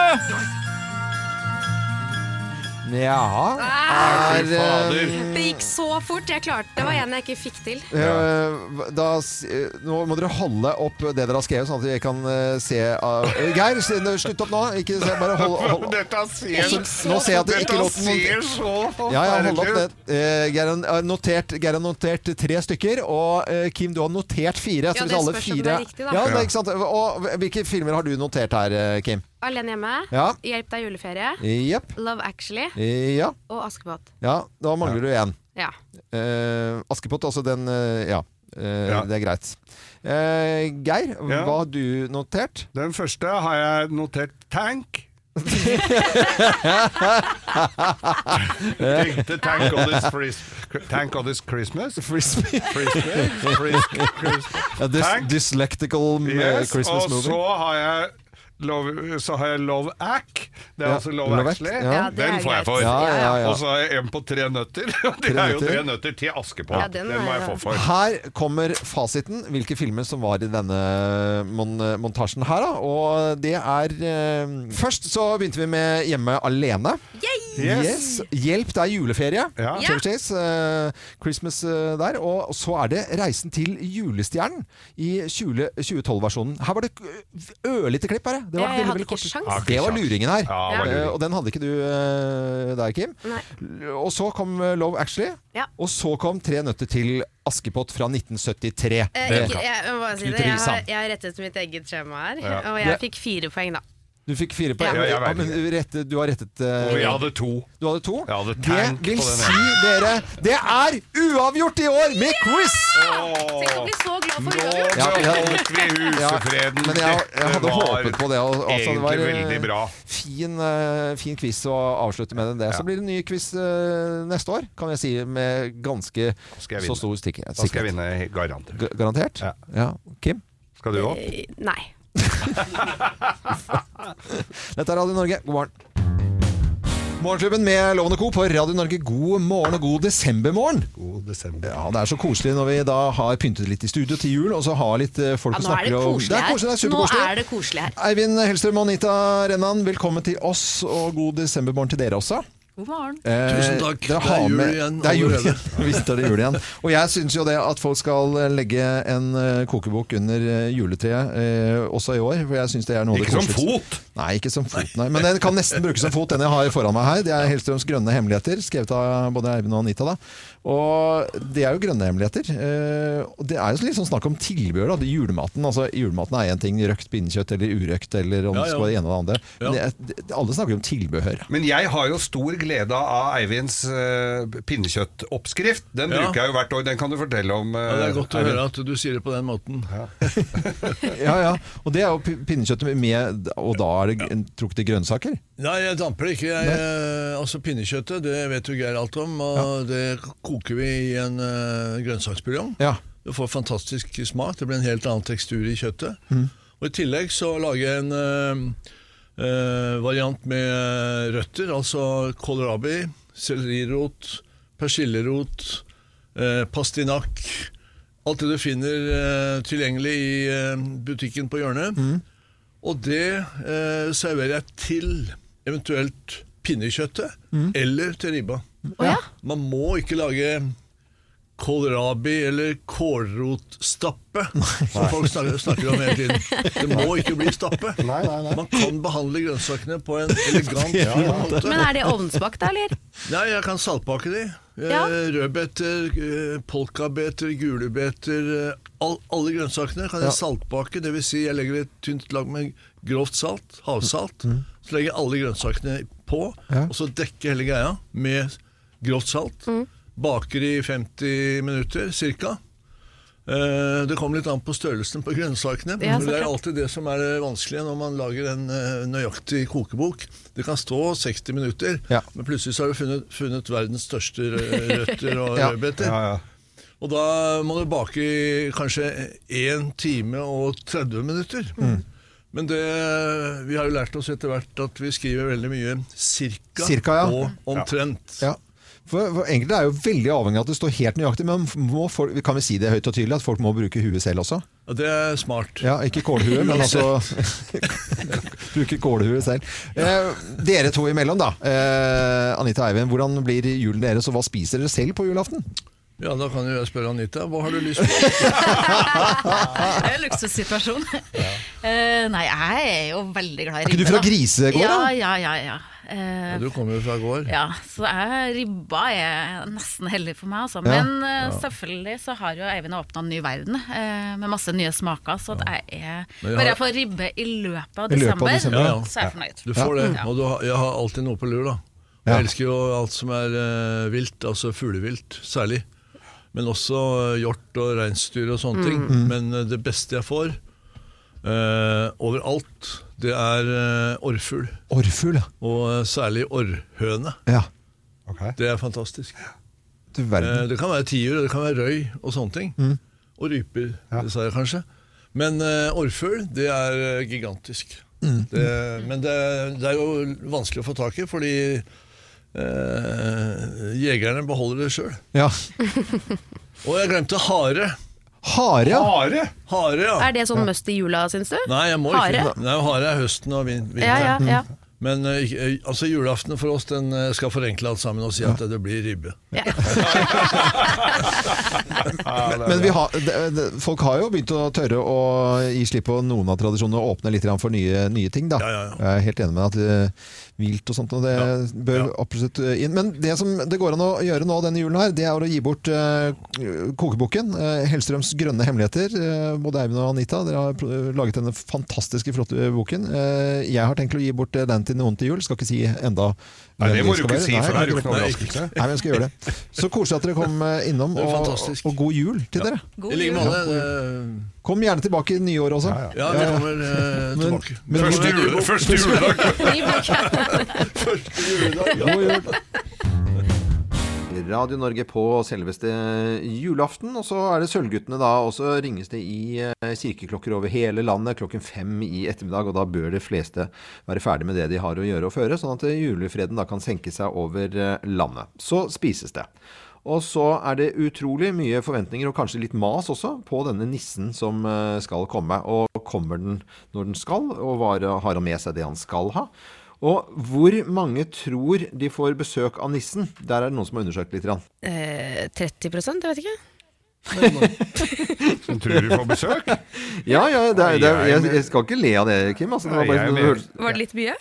S1: Ja
S2: Fy
S1: er, eh,
S2: fader.
S3: Det gikk så fort. Jeg klarte Det var en jeg ikke fikk til.
S1: eh, da, s- eh, Nå må dere holde opp det dere har skrevet, sånn at jeg kan eh, se av- Eh, Geir, se- slutt opp nå. Ikke se, bare hold, hold.
S2: Dette ser
S1: Også- nå ser jeg at det ikke
S2: Dette
S1: låter noen-
S2: ser så
S1: Ja, ja, hold
S2: forferdelig
S1: opp
S2: ut.
S1: det. Eh, Geir har notert, Geir har notert tre stykker, og eh, Kim, du har notert fire. så hvis
S3: Ja, det
S1: alle
S3: spørs om
S1: fire-
S3: det er riktig,
S1: Ja,
S3: da.
S1: det er ikke sant? Og hvilke filmer har du notert her, eh, Kim?
S3: Alene hjemme.
S1: Ja.
S3: Hjelp deg juleferie.
S1: Jepp.
S3: Love Actually.
S1: Ja.
S3: Og Askepott.
S1: ja. Da mangler du én.
S3: Ja.
S1: Eh, Askepott, altså den eh, ja. Eh,
S2: Ja.
S1: Det er greit. Eh, Geir,
S2: Ja.
S1: hva har du notert?
S2: Den første har jeg notert tank. Tenkte tank on this, fris- tank on this Christmas.
S1: Frisbee.
S2: Christmas. Fris- Christmas. Tank.
S1: Dyslectical eh,
S2: Yes,
S1: Christmas
S2: og
S1: movie.
S2: så har jeg Love, så har jeg Love Ack. Det er
S1: Ja,
S2: altså Love,
S1: Love Ack,
S2: Actually.
S1: ja. Ja,
S3: det er
S2: Den får jeg
S3: greit.
S2: for.
S1: Ja, ja, ja.
S2: Og så har jeg en på tre nøtter. og Det
S1: Tre
S2: er jo
S1: nøtter. Eh.
S2: tre nøtter til Askepott.
S3: Ja, den
S2: den,
S3: er
S2: må jeg
S3: jo-
S2: få for.
S1: Her kommer fasiten, hvilke filmer som var i denne mon montasjen her. Da. Og det er eh, Først så begynte vi med Hjemme alene. Yes. Hjelp, det er juleferie.
S2: Ja.
S3: Ja.
S1: Chevy Chase, eh, Christmas eh, der. Og så er det Reisen til julestjernen i 20 2012-versjonen. Her var det k- ørlite klipp, bare. Det var
S3: Jeg
S1: veldig,
S3: hadde
S1: veldig
S3: ikke
S1: kort.
S3: sjans.
S2: Ja, ikke
S1: Det var
S2: sjans.
S1: luringen her.
S2: Ja, det var luring.
S1: Eh, Og den hadde ikke du eh, der, Kim.
S3: Nei.
S1: L- Og så kom eh, Love Actually.
S3: Ja.
S1: Og så kom Tre nøtter til Askepott fra 1973.
S3: Eh,
S1: Det-
S3: ikke, jeg, må bare si det.
S1: Knut
S3: Jeg, har,
S1: Risan.
S3: jeg har rettet mitt eget skjema her,
S2: Ja.
S3: og jeg fikk fire poeng, da.
S1: Du fikk fire poeng.
S2: Ja, jeg
S1: Ja,
S2: vet
S1: men du, rettet, du har rettet eh,
S2: Og jeg hadde to.
S1: Du hadde to.
S2: Jeg hadde
S1: det
S2: tank
S1: vil
S2: på den
S1: si, dere, det er uavgjort i år med quiz!
S3: Tenk å bli så glad
S2: Nå
S3: for uavgjort.
S1: Ja, ja.
S2: beholdt vi husefreden.
S1: Men jeg, jeg hadde
S2: Dette var
S1: håpet på det. al- Altså, det
S2: egentlig
S1: var, eh,
S2: veldig bra.
S1: Fin, eh, fin quiz å avslutte med den. Det. Så blir det en ny quiz eh, neste år, kan jeg si, med ganske
S2: skal jeg
S1: så
S2: vinne.
S1: stor sikkerhet.
S2: Da skal jeg vinne garant.
S1: Ga- Garantert?
S2: Ja.
S1: Kim?
S2: Skal du opp?
S3: Eh, Nei.
S1: Dette er Radio Norge. God morgen. Morgenklubben med Lovende Co. på Radio Norge. God morgen og god desembermorgen.
S2: God desember.
S1: Ja, Det er så koselig når vi da har pyntet litt i studio til jul, og så har litt eh, folk
S3: Ja,
S1: å
S3: nå er
S1: snakke
S3: det
S1: om. Det
S3: koselig her.
S1: er
S3: Nå
S1: superkoselig.
S3: er det koselig her.
S1: Eivind Hellstrøm og Anita Rennan, velkommen til oss, og god desembermorgen til dere også.
S7: God morgen.
S1: Eh, Tusen takk. det er jul igjen. Det er jul igjen. Visst er det jul igjen. Og jeg syns jo det at folk skal legge en eh, kokebok under eh, juletreet eh, også i år. For jeg synes det er noe av det
S2: Ikke som
S1: koseligste.
S2: fot!
S1: Nei, ikke som fot, nei. Men den kan nesten brukes som fot, den jeg har foran meg her. Det er Hellstrøms grønne hemmeligheter, skrevet av både Eivind og Anita. Da. Og det er jo grønne hemmeligheter. Eh, og det er jo litt sånn snakk om tilbehør. Da. Det er Julematen altså julematen er én ting, røkt pinnekjøtt eller urøkt, eller om det skal være det ene eller det andre. Men det, er- det, alle snakker jo om tilbehør.
S2: Men jeg har jo stor glede av Eivinds eh, pinnekjøttoppskrift. Den bruker jeg jo hvert år. Den kan du fortelle om. eh, Eivind.
S10: at du sier det på den måten.
S1: Ja, ja. Og det er jo pi- pinnekjøttet med Og da er det g- trukket i grønnsaker?
S10: Nei, jeg damper det ikke. Jeg, eh, altså Pinnekjøttet det vet jo Geir alt om, og det koker vi i en eh, grønnsaksbuljong.
S1: Ja.
S10: Du får fantastisk smak. Det blir en helt annen tekstur i kjøttet. Og I tillegg så lager jeg en eh, eh, variant med røtter, altså kålrabi, sellerirot, persillerot, eh, pastinakk. Alt det du finner eh, tilgjengelig i eh, butikken på hjørnet. Og det eh, serverer jeg til eventuelt pinnekjøttet eller til ribba. Man må ikke lage kålrabi eller kålrotstappe, som folk snakker, snakker om hele tiden. Det må ikke bli stappe. Man kan behandle grønnsakene på en elegant fin måte.
S3: Men er det ovnsbakt, da, eller?
S10: Nei, jeg kan saltbake de. Eh,
S3: Ja.
S10: Rødbeter, eh, polkabeter, gule beter. eh, All, alle grønnsakene kan jeg saltbake. Dvs. Si jeg legger et tynt lag med grovt salt, havsalt. Så legger jeg alle grønnsakene på,
S1: Ja.
S10: og så dekke hele greia med grått salt. Baker i 50 minutter ca. Eh, Det kommer litt an på størrelsen på grønnsakene.
S7: Ja,
S10: for
S7: så
S10: det er
S7: klart.
S10: alltid det som er det vanskelige når man lager en eh, nøyaktig kokebok. Det kan stå 60 minutter,
S1: Ja.
S10: men plutselig så har du funnet, funnet verdens største rø- røtter og
S1: Ja.
S10: rødbeter. Og da må du bake i kanskje 1 time og 30 minutter.
S1: Mm.
S10: Men det, vi har jo lært oss etter hvert at vi skriver veldig mye cirka,
S1: Cirka, ja.
S10: og omtrent.
S1: Ja. For, for Enkelte er jo veldig avhengig av at det står helt nøyaktig, men må folk, kan vi si det høyt og tydelig at folk må bruke huet selv også?
S10: Og det er smart.
S1: Ja, Ikke kålhue, men altså Bruke kålhue selv. Eh, dere to imellom, da. Eh, Anita og Eivind, hvordan blir julen deres, og hva spiser dere selv på julaften?
S10: Ja, da kan jo jeg spørre Anita, hva har du lyst på?
S7: Det er jo en luksussituasjon. Eh, nei, jeg er jo veldig glad i
S1: Er ikke du fra Grisegård,
S7: ja,
S1: da?
S7: Ja, ja, ja. Eh,
S10: Du kommer jo fra gård.
S7: ja, så er, ribba er nesten heldig for meg, altså.
S1: Ja,
S7: Men eh, selvfølgelig så har jo Eivind åpna en ny verden eh, med masse nye smaker, så at jeg er Bare
S10: Men jeg har-
S7: jeg får ribbe i løpet av
S1: I løpet av
S7: desember,
S1: desember,
S10: ja.
S7: så er jeg fornøyd.
S10: Du får det,
S7: Ja.
S10: og du har, jeg har alltid noe på lur da. Jeg
S1: Ja.
S10: elsker jo alt som er eh, vilt, altså fuglevilt særlig. Men også eh, hjort og reinsdyr og sånne ting.
S1: Mm.
S10: Men eh, det beste jeg får eh, overalt, det er uh, orrfugl.
S1: Orrfugl, ja.
S10: Og eh, særlig orrhøne.
S1: ja.
S10: Det er fantastisk.
S1: Du
S10: Eh,
S1: verden.
S10: det kan være tiur, og det kan være røy og sånne ting. Og ryper, dessverre kanskje. Men uh, orrfugl, det er eh, gigantisk. Det, men det, det er jo vanskelig å få tak i, fordi eh, jegerne beholder det sjøl.
S1: Ja.
S10: Og jeg glemte hare.
S1: Hare, ja.
S2: Hare!
S10: Hare, ja.
S3: Er det sånn must i jula, syns du?
S10: Nei, jeg må
S3: Hare?
S10: ikke. Nei, hare er høsten og vin- vinteren.
S3: Ja, ja, ja.
S10: Men eh, ikke- eh, altså, julaften for oss den eh, skal forenkle alt sammen og si at det blir ribbe.
S1: Men vi har, det- det- folk har jo begynt å tørre å gi slipp på noen av tradisjonene og åpne litt grann for nye, nye ting. Da.
S10: Ja, ja, ja.
S1: Jeg er helt enig med deg at eh, vilt og sånt og det bør absolutt eh, inn. Men det som det går an å gjøre nå denne julen her, det er å gi bort eh, kokeboken. eh, Hellstrøms grønne hemmeligheter. eh, både Eivind og Anita, dere har pro- eh, laget denne fantastiske, flotte boken. Eh, jeg har tenkt å gi bort eh, den til noen til jul. Skal ikke si enda
S2: Nei, det
S1: hvem
S2: må du
S1: skal
S2: ikke
S1: være.
S2: si, for
S1: Nei,
S2: det er jo ikke noe
S10: nei,
S2: overraskelse.
S1: Nei, men jeg skal gjøre det. Så koselig at dere kom eh, innom,
S10: Det er
S1: og,
S10: fantastisk.
S1: og god jul til dere.
S10: I like måte. eh,
S1: Kom gjerne tilbake i nyåret også.
S10: Ja, vi kommer eh,
S1: Men-
S10: tilbake.
S1: men-
S2: Første, jule, første juledag!
S1: God jul! Radio Norge på selveste eh, julaften. Og så er det Sølvguttene, da. Og så ringes det i eh, kirkeklokker over hele landet klokken fem i ettermiddag. Og da bør de fleste være ferdig med det de har å gjøre og føre, sånn at eh, julefreden da kan senke seg over eh, landet. Så spises det. Og så er det utrolig mye forventninger, og kanskje litt mas også, på denne nissen som eh, skal komme. Og kommer den når den skal, og var, har han med seg det han skal ha? Og hvor mange tror de får besøk av nissen? Der er det noen som har undersøkt litt. grann.
S3: Eh, 30 jeg vet ikke.
S2: Som tror du får besøk?
S12: Ja, ja, det er, det er,
S2: Nei, jeg
S12: jeg,
S2: mener-
S12: jeg skal ikke le av det, Kim. Altså, det var
S2: Nei,
S12: bare
S2: jeg
S12: det
S2: mener-
S12: hørtes-
S3: Var det litt mye?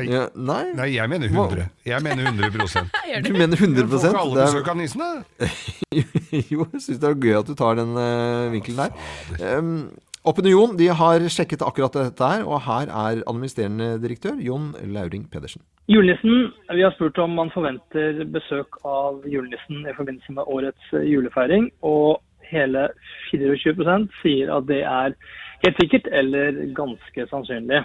S12: ja, nei,
S2: Nei, jeg mener 100. Jeg mener 100
S12: du mener 100
S2: Får ikke alle
S12: det er,
S2: besøk av nissen, da?
S12: Jo, jeg syns det er gøy at du tar den eh, vinkelen der. Em, Opinion de har sjekket akkurat dette her, og her er administrerende direktør Jon Lauring Pedersen.
S4: Julenissen, vi har spurt om man forventer besøk av julenissen i forbindelse med årets eh, julefeiring, og hele 24 sier at det er helt sikkert eller ganske sannsynlig.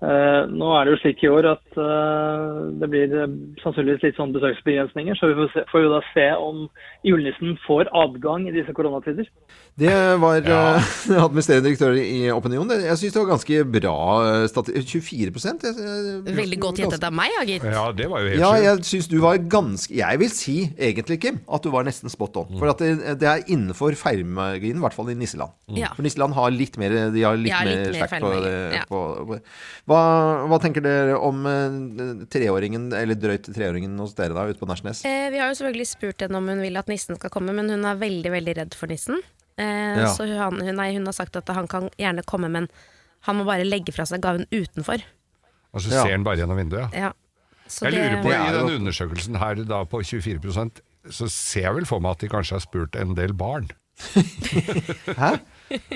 S4: Eh, nå er det jo slik i år at eh, det blir eh, sannsynligvis litt sånn besøksbegrensninger, så vi får, se, får jo da se om julenissen får adgang i disse koronatider.
S12: Det var eh, administrerende direktør i Opinion. Det- Jeg syns det var ganske bra eh, stati... 24 jeg, jeg,
S3: Veldig godt gjettet av meg, ja, gitt.
S2: Ja, det var jo helt
S12: eh, Ja,
S2: sjukt.
S12: jeg syns du var ganske Jeg vil si egentlig, Kim, at du var nesten spot on. For at det, det er innenfor feilmarginen, i hvert fall i Nisseland.
S3: Ja.
S12: For Nisseland har litt mer De har litt
S3: Ja, litt
S12: mer
S3: mer
S12: slack på,
S3: feilmargin, ja.
S12: på, på hva, hva tenker dere om eh, treåringen, eller drøyt treåringen hos dere da, ute på Nesjnes?
S3: Eh, vi har jo selvfølgelig spurt henne om hun vil at nissen skal komme, men hun er veldig veldig redd for nissen. Eh,
S12: Ja.
S3: Så hun, han- hun, nei, hun har sagt at han kan gjerne komme, men han må bare legge fra seg gaven utenfor.
S2: Og så
S12: Ja.
S2: ser han bare gjennom vinduet. ja.
S3: Ja. Så
S2: Jeg lurer på,
S12: Det
S2: I
S12: er jo-
S2: den undersøkelsen her da på 24 så ser jeg vel for meg at de kanskje har spurt en del barn.
S12: Hæ?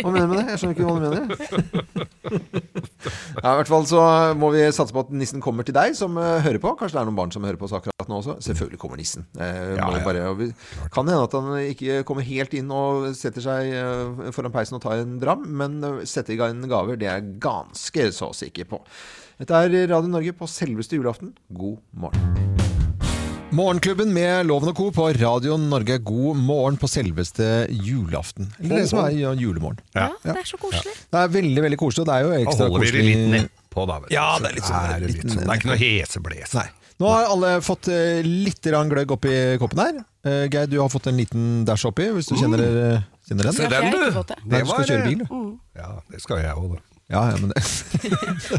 S12: Hva mener du med det? Jeg skjønner ikke hva du mener. Ja, I hvert fall så må vi satse på at nissen kommer til deg som eh, hører på. Kanskje det er noen barn som hører på oss akkurat nå også. Selvfølgelig kommer nissen. Eh,
S2: Ja,
S12: må
S2: ja.
S12: Bare, og vi, kan hende at han ikke kommer helt inn og setter seg eh, foran peisen og tar en dram, men eh, sette i gang gaver, det er jeg ganske så sikker på. Dette er Radio Norge på selveste julaften. God morgen.
S1: Morgenklubben med Loven og Co. på Radio Norge. God morgen på selveste julaften. Eller det som er ja, julemorgen.
S2: Ja.
S1: Ja.
S7: Det er så koselig.
S1: Det er veldig, veldig koselig, og det er jo
S2: Da
S1: ekstra
S2: holder vi
S1: koselig.
S2: det litt nedpå, da. vet du.
S1: Ja, det er litt sånn-
S2: det,
S1: litt
S2: sånn. det er ikke noe hesebles.
S1: Nei. Nå har alle fått eh, litt grann gløgg oppi koppen her. Eh, Geir, du har fått en liten dash oppi, hvis du kjenner,
S2: Mm.
S1: eh, kjenner den.
S2: Se den, du!
S1: Nei, du skal
S2: var, eh,
S1: kjøre bil, du.
S2: Ja, det skal jeg òg, da.
S1: Ja, ja, men det,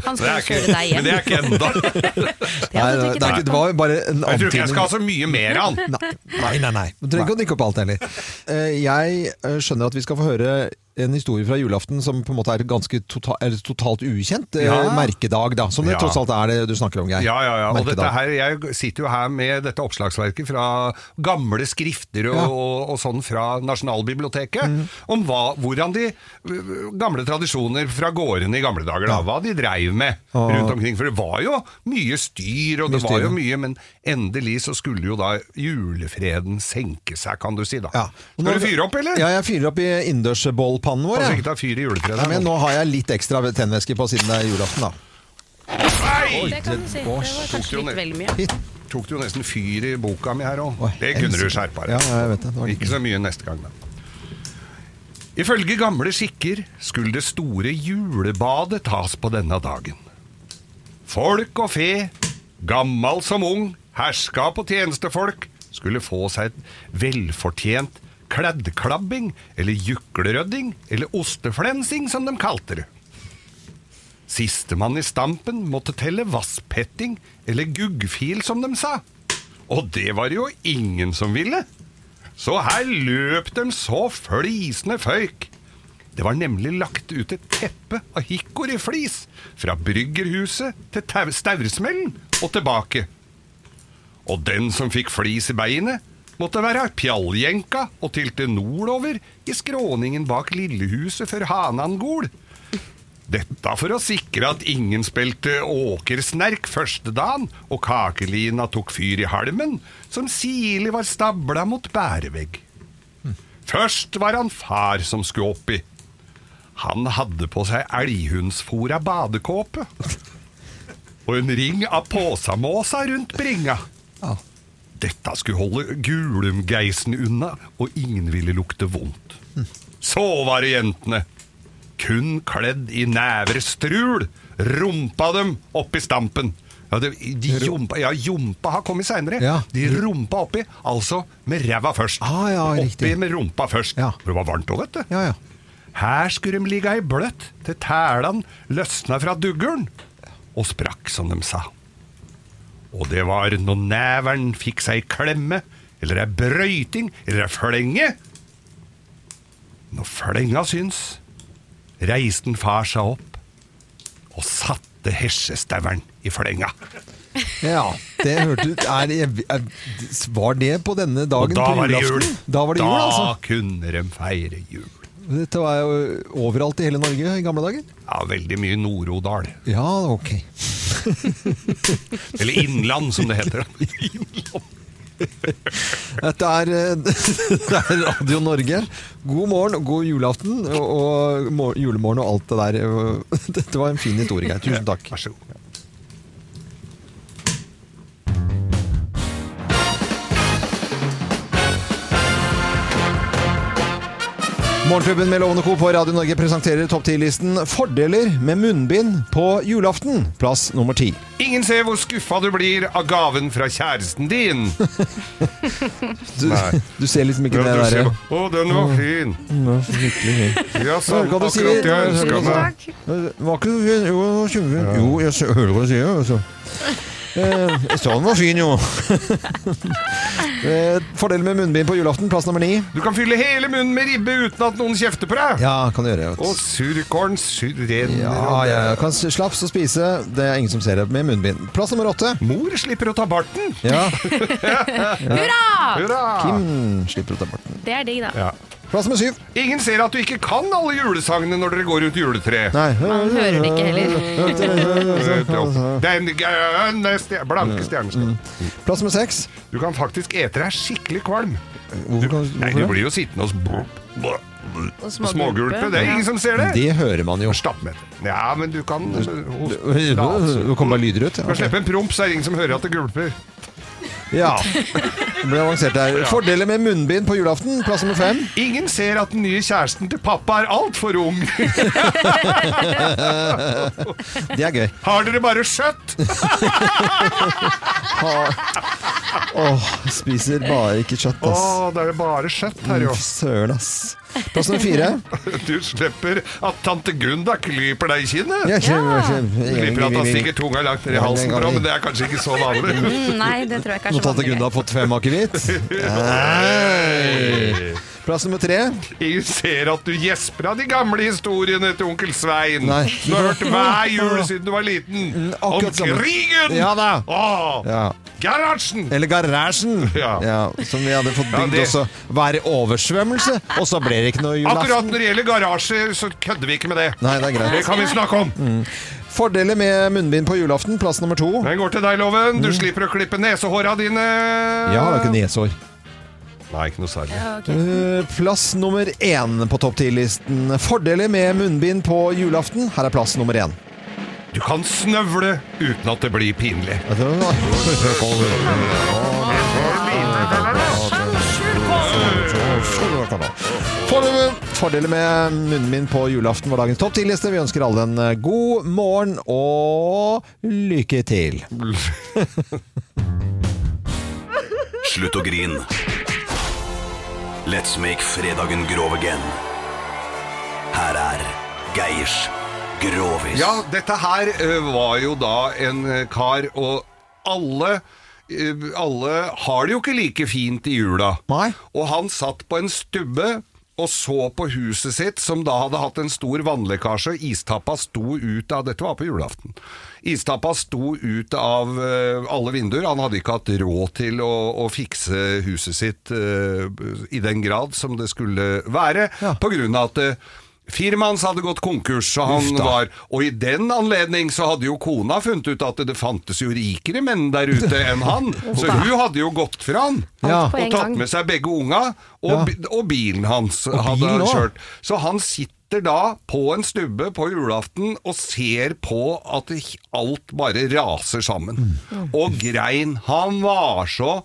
S3: Han
S2: Det
S3: skal
S2: er
S3: jo
S2: ikke,
S3: kjøre deg hjem.
S2: men det er ikke enda.
S1: nei, det, er ikke, det var jo bare en
S2: Jeg tror ikke jeg
S1: antydning.
S2: skal ha så mye mer av den.
S1: Nei, nei, nei. nei. Du trenger ikke å drikke opp alt heller. Eh, Jeg eh, skjønner at vi skal få høre en historie fra julaften som på en måte er ganske tota- er totalt ukjent. eh,
S2: Ja.
S1: Merkedag, da. Som det
S2: Ja.
S1: tross alt er det du snakker om, Geir.
S2: Ja, ja, ja. Og
S1: Merkedag.
S2: dette her, jeg sitter jo her med dette oppslagsverket fra gamle skrifter og,
S1: Ja. Mhm.
S2: og, og sånn fra Nasjonalbiblioteket, om hva, hvordan de øh, gamle tradisjoner fra gårdene i gamle dager, da, hva de dreiv med
S1: Og-
S2: rundt omkring. For det var jo mye styr, og det
S1: Mye styr,
S2: var
S1: ja.
S2: jo mye, men endelig så skulle jo da julefreden senke seg, kan du si da.
S1: Ja. Og
S2: Skal
S1: nå-
S2: du fyre opp, eller?
S1: Ja, jeg fyrer opp i innendørsbollpannen vår.
S2: Altså
S1: jeg.
S2: ikke ta fyr i juletreet.
S1: Nei,
S2: her
S1: men
S2: nå.
S1: nå har jeg litt ekstra tennvæske på siden det er julaften, da.
S2: Nei!
S3: Det kan du si. Det var kanskje litt vel mye.
S2: Tok du jo nesten fyr i boka mi her òg.
S1: Oi,
S2: Det
S1: jeg
S2: kunne du
S1: elsker-
S2: skjerpa
S1: Ja,
S2: deg.
S1: jeg vet det. det var
S2: Ikke så mye neste gang, da. Ifølge gamle skikker skulle det store julebadet tas på denne dagen. Folk og fe, gammal som ung, herskap og tjenestefolk skulle få seg et velfortjent kleddklabbing eller juklerødding eller osteflensing, som de kalte det. Sistemann i stampen måtte telle vasspetting eller guggfil, som de sa. Og det var det jo ingen som ville. Så her løp de så flisende føyk. Det var nemlig lagt ut et teppe av hikkoriflis fra bryggerhuset til tau- staursmellen og tilbake. Og den som fikk flis i beinet, måtte være pjalljenka og tilte nordover i skråningen bak lillehuset for Hanangol. Dette for å sikre at ingen spilte åkersnerk første dagen, og kakelina tok fyr i halmen, som sirlig var stabla mot bærevegg. Først var han far som skulle oppi. Han hadde på seg elghundsfora badekåpe og en ring av påsamåsa rundt bringa.
S1: Ja.
S2: Dette skulle holde gulumgeisen unna, og ingen ville lukte vondt. Så var det jentene. Kun kledd i neverstrul rumpa dem oppi stampen. Ja, det, de jumpa, ja, jumpa har kommet seinere.
S1: Ja.
S2: De rumpa oppi, altså med ræva først.
S1: Ah, ja,
S2: oppi
S1: riktig.
S2: med rumpa først.
S1: Ja.
S2: For det var varmt òg, vet du.
S1: Ja, ja.
S2: Her skulle de ligge i bløtt til tælan løsna fra duggeren og sprakk, som de sa. Og det var når neveren fikk seg ei klemme, eller ei brøyting, eller ei flenge. Når flenga syns, reiste en far seg opp og satte hesjestauren i flenga.
S1: Ja, det hørte du er, er, Var det på denne
S2: Og
S1: dagen
S2: da
S1: på
S2: var det jul!
S1: julaften? Da var det jul, altså.
S2: kunne de feire jul.
S1: Dette var jo overalt i hele Norge i gamle dager.
S2: Ja, veldig mye Nord-Odal.
S1: Ja, ok.
S2: Eller Innland, som det heter.
S1: Dette er, eh, det er Radio Norge. God morgen, og god julaften og- og mor- julemorgen og alt det der. Dette var en fin historie, Geir. Tusen takk.
S2: Vær så god.
S1: Morgenklubben med Lovende Co. på Radio Norge presenterer topp 10-listen Fordeler med munnbind på julaften. Plass nummer ti.
S2: Ingen ser hvor skuffa du blir av gaven fra kjæresten din.
S1: Du,
S2: Nei.
S1: du ser liksom ikke det
S2: du ser
S1: derre
S2: på- Å, den var fin. Ja,
S1: Hva er det
S2: sånn, akkurat
S1: du
S2: det
S1: sier?
S2: jeg ønska meg.
S1: Var ikke så fin? Jo, den var kjempefin. Jo, jeg s- hører hva du sier. Altså. Eh, jeg sa den var fin, jo. Eh, Fordelen med munnbind på julaften, plass nummer ni.
S2: Du kan fylle hele munnen med ribbe uten at noen kjefter på deg.
S1: Ja, kan du gjøre. vet du.
S2: Og surkålen surrenner.
S1: Ja,
S2: og det-
S1: ja, ja. Kan s- slaps og spise. Det er ingen som ser det med munnbind. Plass nummer åtte.
S2: Mor slipper å ta barten.
S1: Ja,
S7: Hurra!
S2: Hurra!
S1: mm, slipper å ta barten.
S7: Det er digg, da.
S2: Ja.
S1: Plass nummer syv.
S2: Ingen ser at du ikke kan alle julesangene når dere går rundt juletreet.
S1: Nei.
S2: Man hører det ikke
S1: heller.
S2: Den grønne stjer- blanke
S1: Mm.
S2: stjerneskatten.
S1: Plass nummer seks.
S2: Du kan faktisk ete deg skikkelig kvalm.
S1: Hvorfor kan
S2: Nei,
S1: hvorfor
S2: du
S1: det?
S2: blir jo sittende og smågulpe.
S3: Og
S2: Smågulpe, det er ingen som ser det.
S1: Det hører man jo.
S2: Stappmett. Ja, men du kan hoste.
S1: Det kom bare lyder ut.
S2: Du kan
S1: Ok.
S2: slippe en promp, så er det ingen som hører at det gulper.
S1: Ja. Det ble avansert der. Fordeler med munnbind på julaften. Plass nummer fem.
S2: Ingen ser at den nye kjæresten til pappa er altfor ung.
S1: Det er gøy.
S2: Har dere bare skjøtt?
S1: Åh, spiser bare ikke kjøtt,
S2: Å,
S1: ass.
S2: da er det bare skjøtt her,
S1: Mm,
S2: jo.
S1: Søren, ass. Plass nummer fire.
S2: Du slipper at tante Gunda klyper deg i kinnet.
S1: Ja, kjem- kjem-
S2: Slipper at han stikker tunga langt ned i
S1: Ja,
S2: halsen,
S1: det
S2: på
S1: kan
S2: deg, men
S1: vi.
S2: det er kanskje ikke så vanlig.
S3: Mm, nei, det tror jeg ikke er
S1: Nå
S3: så
S1: tatt
S3: vanlig.
S1: Gunnar fått fem akevitt. Nei. Plass nummer tre.
S2: Jeg ser at du gjesper av de gamle historiene til onkel Svein.
S1: Nei. Mm,
S2: Som du har hørt hver jul siden du var liten. Om
S1: akkurat samme.
S2: krigen!
S1: Ja da.
S2: Åh,
S1: Ja.
S2: Gerhardsen!
S1: Eller garasjen,
S2: Ja.
S1: som vi hadde fått
S2: Ja,
S1: bygd
S2: det-
S1: også. Være oversvømmelse, og så ble det ikke noe
S2: Akkurat
S1: julaften.
S2: når det gjelder garasjer, så kødder vi ikke med det.
S1: Nei, Mm. det er greit.
S2: Det kan vi snakke om.
S1: Fordeler med munnbind på julaften. Plass nummer to.
S2: Den går til deg, Loven.
S1: Mm.
S2: Du slipper å klippe nesehåra dine.
S1: Jeg har jo ikke nesehår.
S2: Nei, ikke noe særlig.
S1: Eh, Plass nummer én på topp 10-listen. Fordeler med munnbind på julaften. Her er plass nummer én.
S2: Du kan snøvle uten at det blir pinlig.
S1: Fordeler- Fordeler med munnbind på julaften var dagens topp 10-liste. Vi ønsker alle en eh, god morgen og lykke til.
S13: Slutt å grin. Let's make fredagen grov again. Her er Geirs Grovis.
S2: Ja, dette her ø, var jo da en ø, kar, og alle ø, alle har det jo ikke like fint i jula.
S1: Nei.
S2: Og han satt på en stubbe og så på huset sitt, som da hadde hatt en stor vannlekkasje, og istappa sto ut av Dette var på julaften. Istappa sto ut av eh, alle vinduer. Han hadde ikke hatt råd til å, å fikse huset sitt eh, i den grad som det skulle være,
S1: Ja.
S2: på grunn av at eh, Firmaet hans hadde gått konkurs, så han
S1: Uff da.
S2: var Og i den anledning så hadde jo kona funnet ut at det fantes jo rikere menn der ute enn han, så hun hadde jo gått fra han.
S1: Ja.
S3: på en
S2: Og tatt
S3: gang.
S2: med seg begge unga, og,
S1: Ja.
S2: bi- og bilen hans hadde
S1: bilen
S2: han
S1: også.
S2: kjørt. Så han sitter da på en stubbe på julaften og ser på at det h- alt bare raser sammen.
S1: Mm.
S2: Og grein. Han var så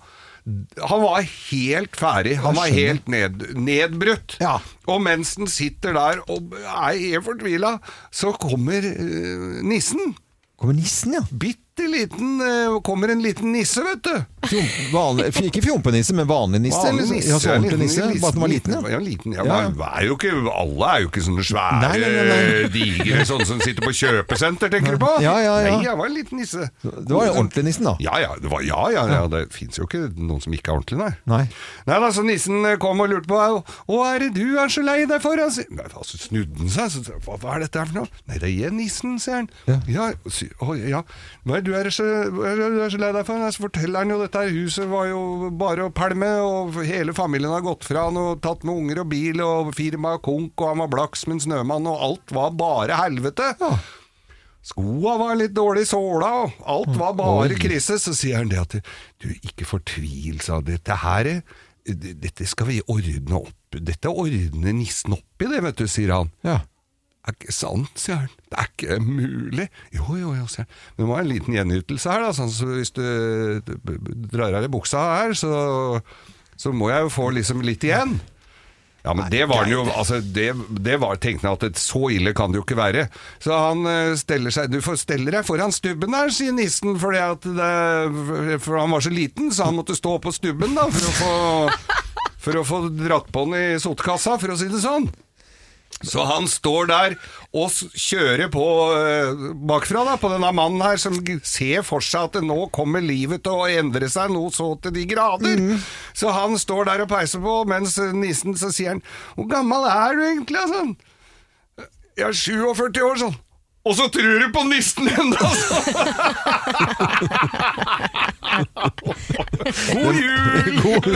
S2: han var helt ferdig. Han var
S1: skjønner.
S2: helt ned, nedbrutt.
S1: Ja.
S2: Og mens den sitter der og er helt fortvila, så kommer eh, nissen.
S1: Kommer nissen, ja.
S2: Bitte liten eh, Kommer en liten nisse, vet du.
S1: Fjom- vanlig, ikke fjompenisse, men vanlig nisse?
S2: Vanlig
S1: eller?
S2: nisse,
S1: Ja, så
S2: ja,
S1: ordentlig
S2: liten-
S1: nisse. Bare at den var liten, ja.
S2: Ja, liten, ja,
S1: Ja.
S2: men Er jo ikke, alle er jo ikke sånne svære, eh,
S1: Nei, nei, nei, nei.
S2: digre sånne som sitter på kjøpesenter, tenker du på?
S1: Ja, ja, ja.
S2: Nei, jeg var en liten nisse.
S1: Det var jo ordentlig nissen, da.
S2: Ja, ja, det, var, ja, ja, ja, det fins jo ikke noen som ikke er ordentlig, nei.
S1: Nei.
S2: Nei da, så nissen eh, kom og lurte på Hva er det du er så lei deg for? Altså, nei, altså snudde han seg, så, hva, hva er dette her for noe? Nei, det er nissen, sier han. Ja, sy, å, ja. Hva er det du er så, hva er det du er så lei deg for? Nei, så forteller han jo dette her huset var jo bare å pælme, og hele familien har gått fra han og tatt med unger og bil og firma og konk, og han var blaks med en snømann, og alt var bare helvete. Skoa var litt dårlig såla, og alt var bare krise. Så sier han det at du, ikke fortvil, sa han. Dette her eh, d- Dette skal vi ordne opp Dette ordner nissen opp i det, vet du, sier han.
S1: Ja.
S2: Er ikke sant, sier han. Det er ikke mulig. Jo, jo, jo, sier han. Men det må være en liten gjenytelse her, da. Sånn, så hvis du eh, b- b- drar av deg buksa her, så, så må jeg jo få liksom litt igjen. Ja, men det var den jo altså, det, det var tenkte jeg at det, så ille kan det jo ikke være. Så han eh, steller seg Du får stelle deg foran stubben der, sier nissen, fordi at det, for han var så liten, så han måtte stå på stubben da for å få, for å få dratt på den i sotkassa, for å si det sånn. Så han står der og s- kjører på eh, bakfra da, på denne mannen her, som g- ser for seg at det nå kommer livet til å endre seg noe så til de grader. Så han står der og peiser på, mens eh, nissen altså?» så sier han 'Hvor gammel er du egentlig?' da, sånn. 'Jeg er 47 år', sånn. Og så tror du på nissen ennå, altså! God jul!
S1: God,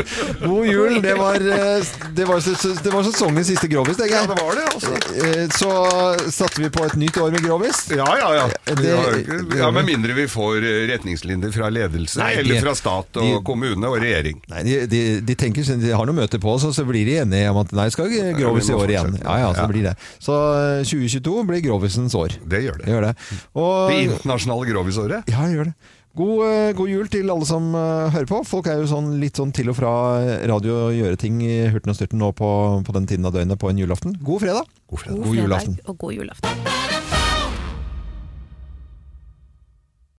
S1: god jul. Det var, eh, det var, ses- det var sesongens siste Grovis, tenker jeg.
S2: Ja, det var det, altså.
S1: Eh, Så satte vi på et nytt år med Grovis.
S2: Ja, ja, ja.
S1: Det-
S2: Vi har jo ikke- ja med mindre vi får eh, retningslinjer fra ledelse,
S1: Nei,
S2: eller
S1: de-
S2: fra stat og
S1: de-
S2: kommune og regjering.
S1: Nei, de, de, de tenker siden De har noe møte på oss, og så blir de enige om at nei, skal ikke Grovis
S2: vi
S1: i
S2: må
S1: år igjen.
S2: fortsette.
S1: Ja, ja, Så
S2: Ja.
S1: det blir det. Så eh, 2022 blir Grovisens år.
S2: Det gjør det.
S1: Det gjør det. Og-
S2: Det internasjonale grovisåret.
S1: Ja, det gjør det. God, eh, god jul til alle som eh, hører på. Folk er jo sånn litt sånn til og fra radio og gjøre ting i hurten og styrten nå på, på den tiden av døgnet på en julaften. God fredag!
S2: God
S3: God
S1: God
S3: fredag
S1: julaften.
S3: og god julaften.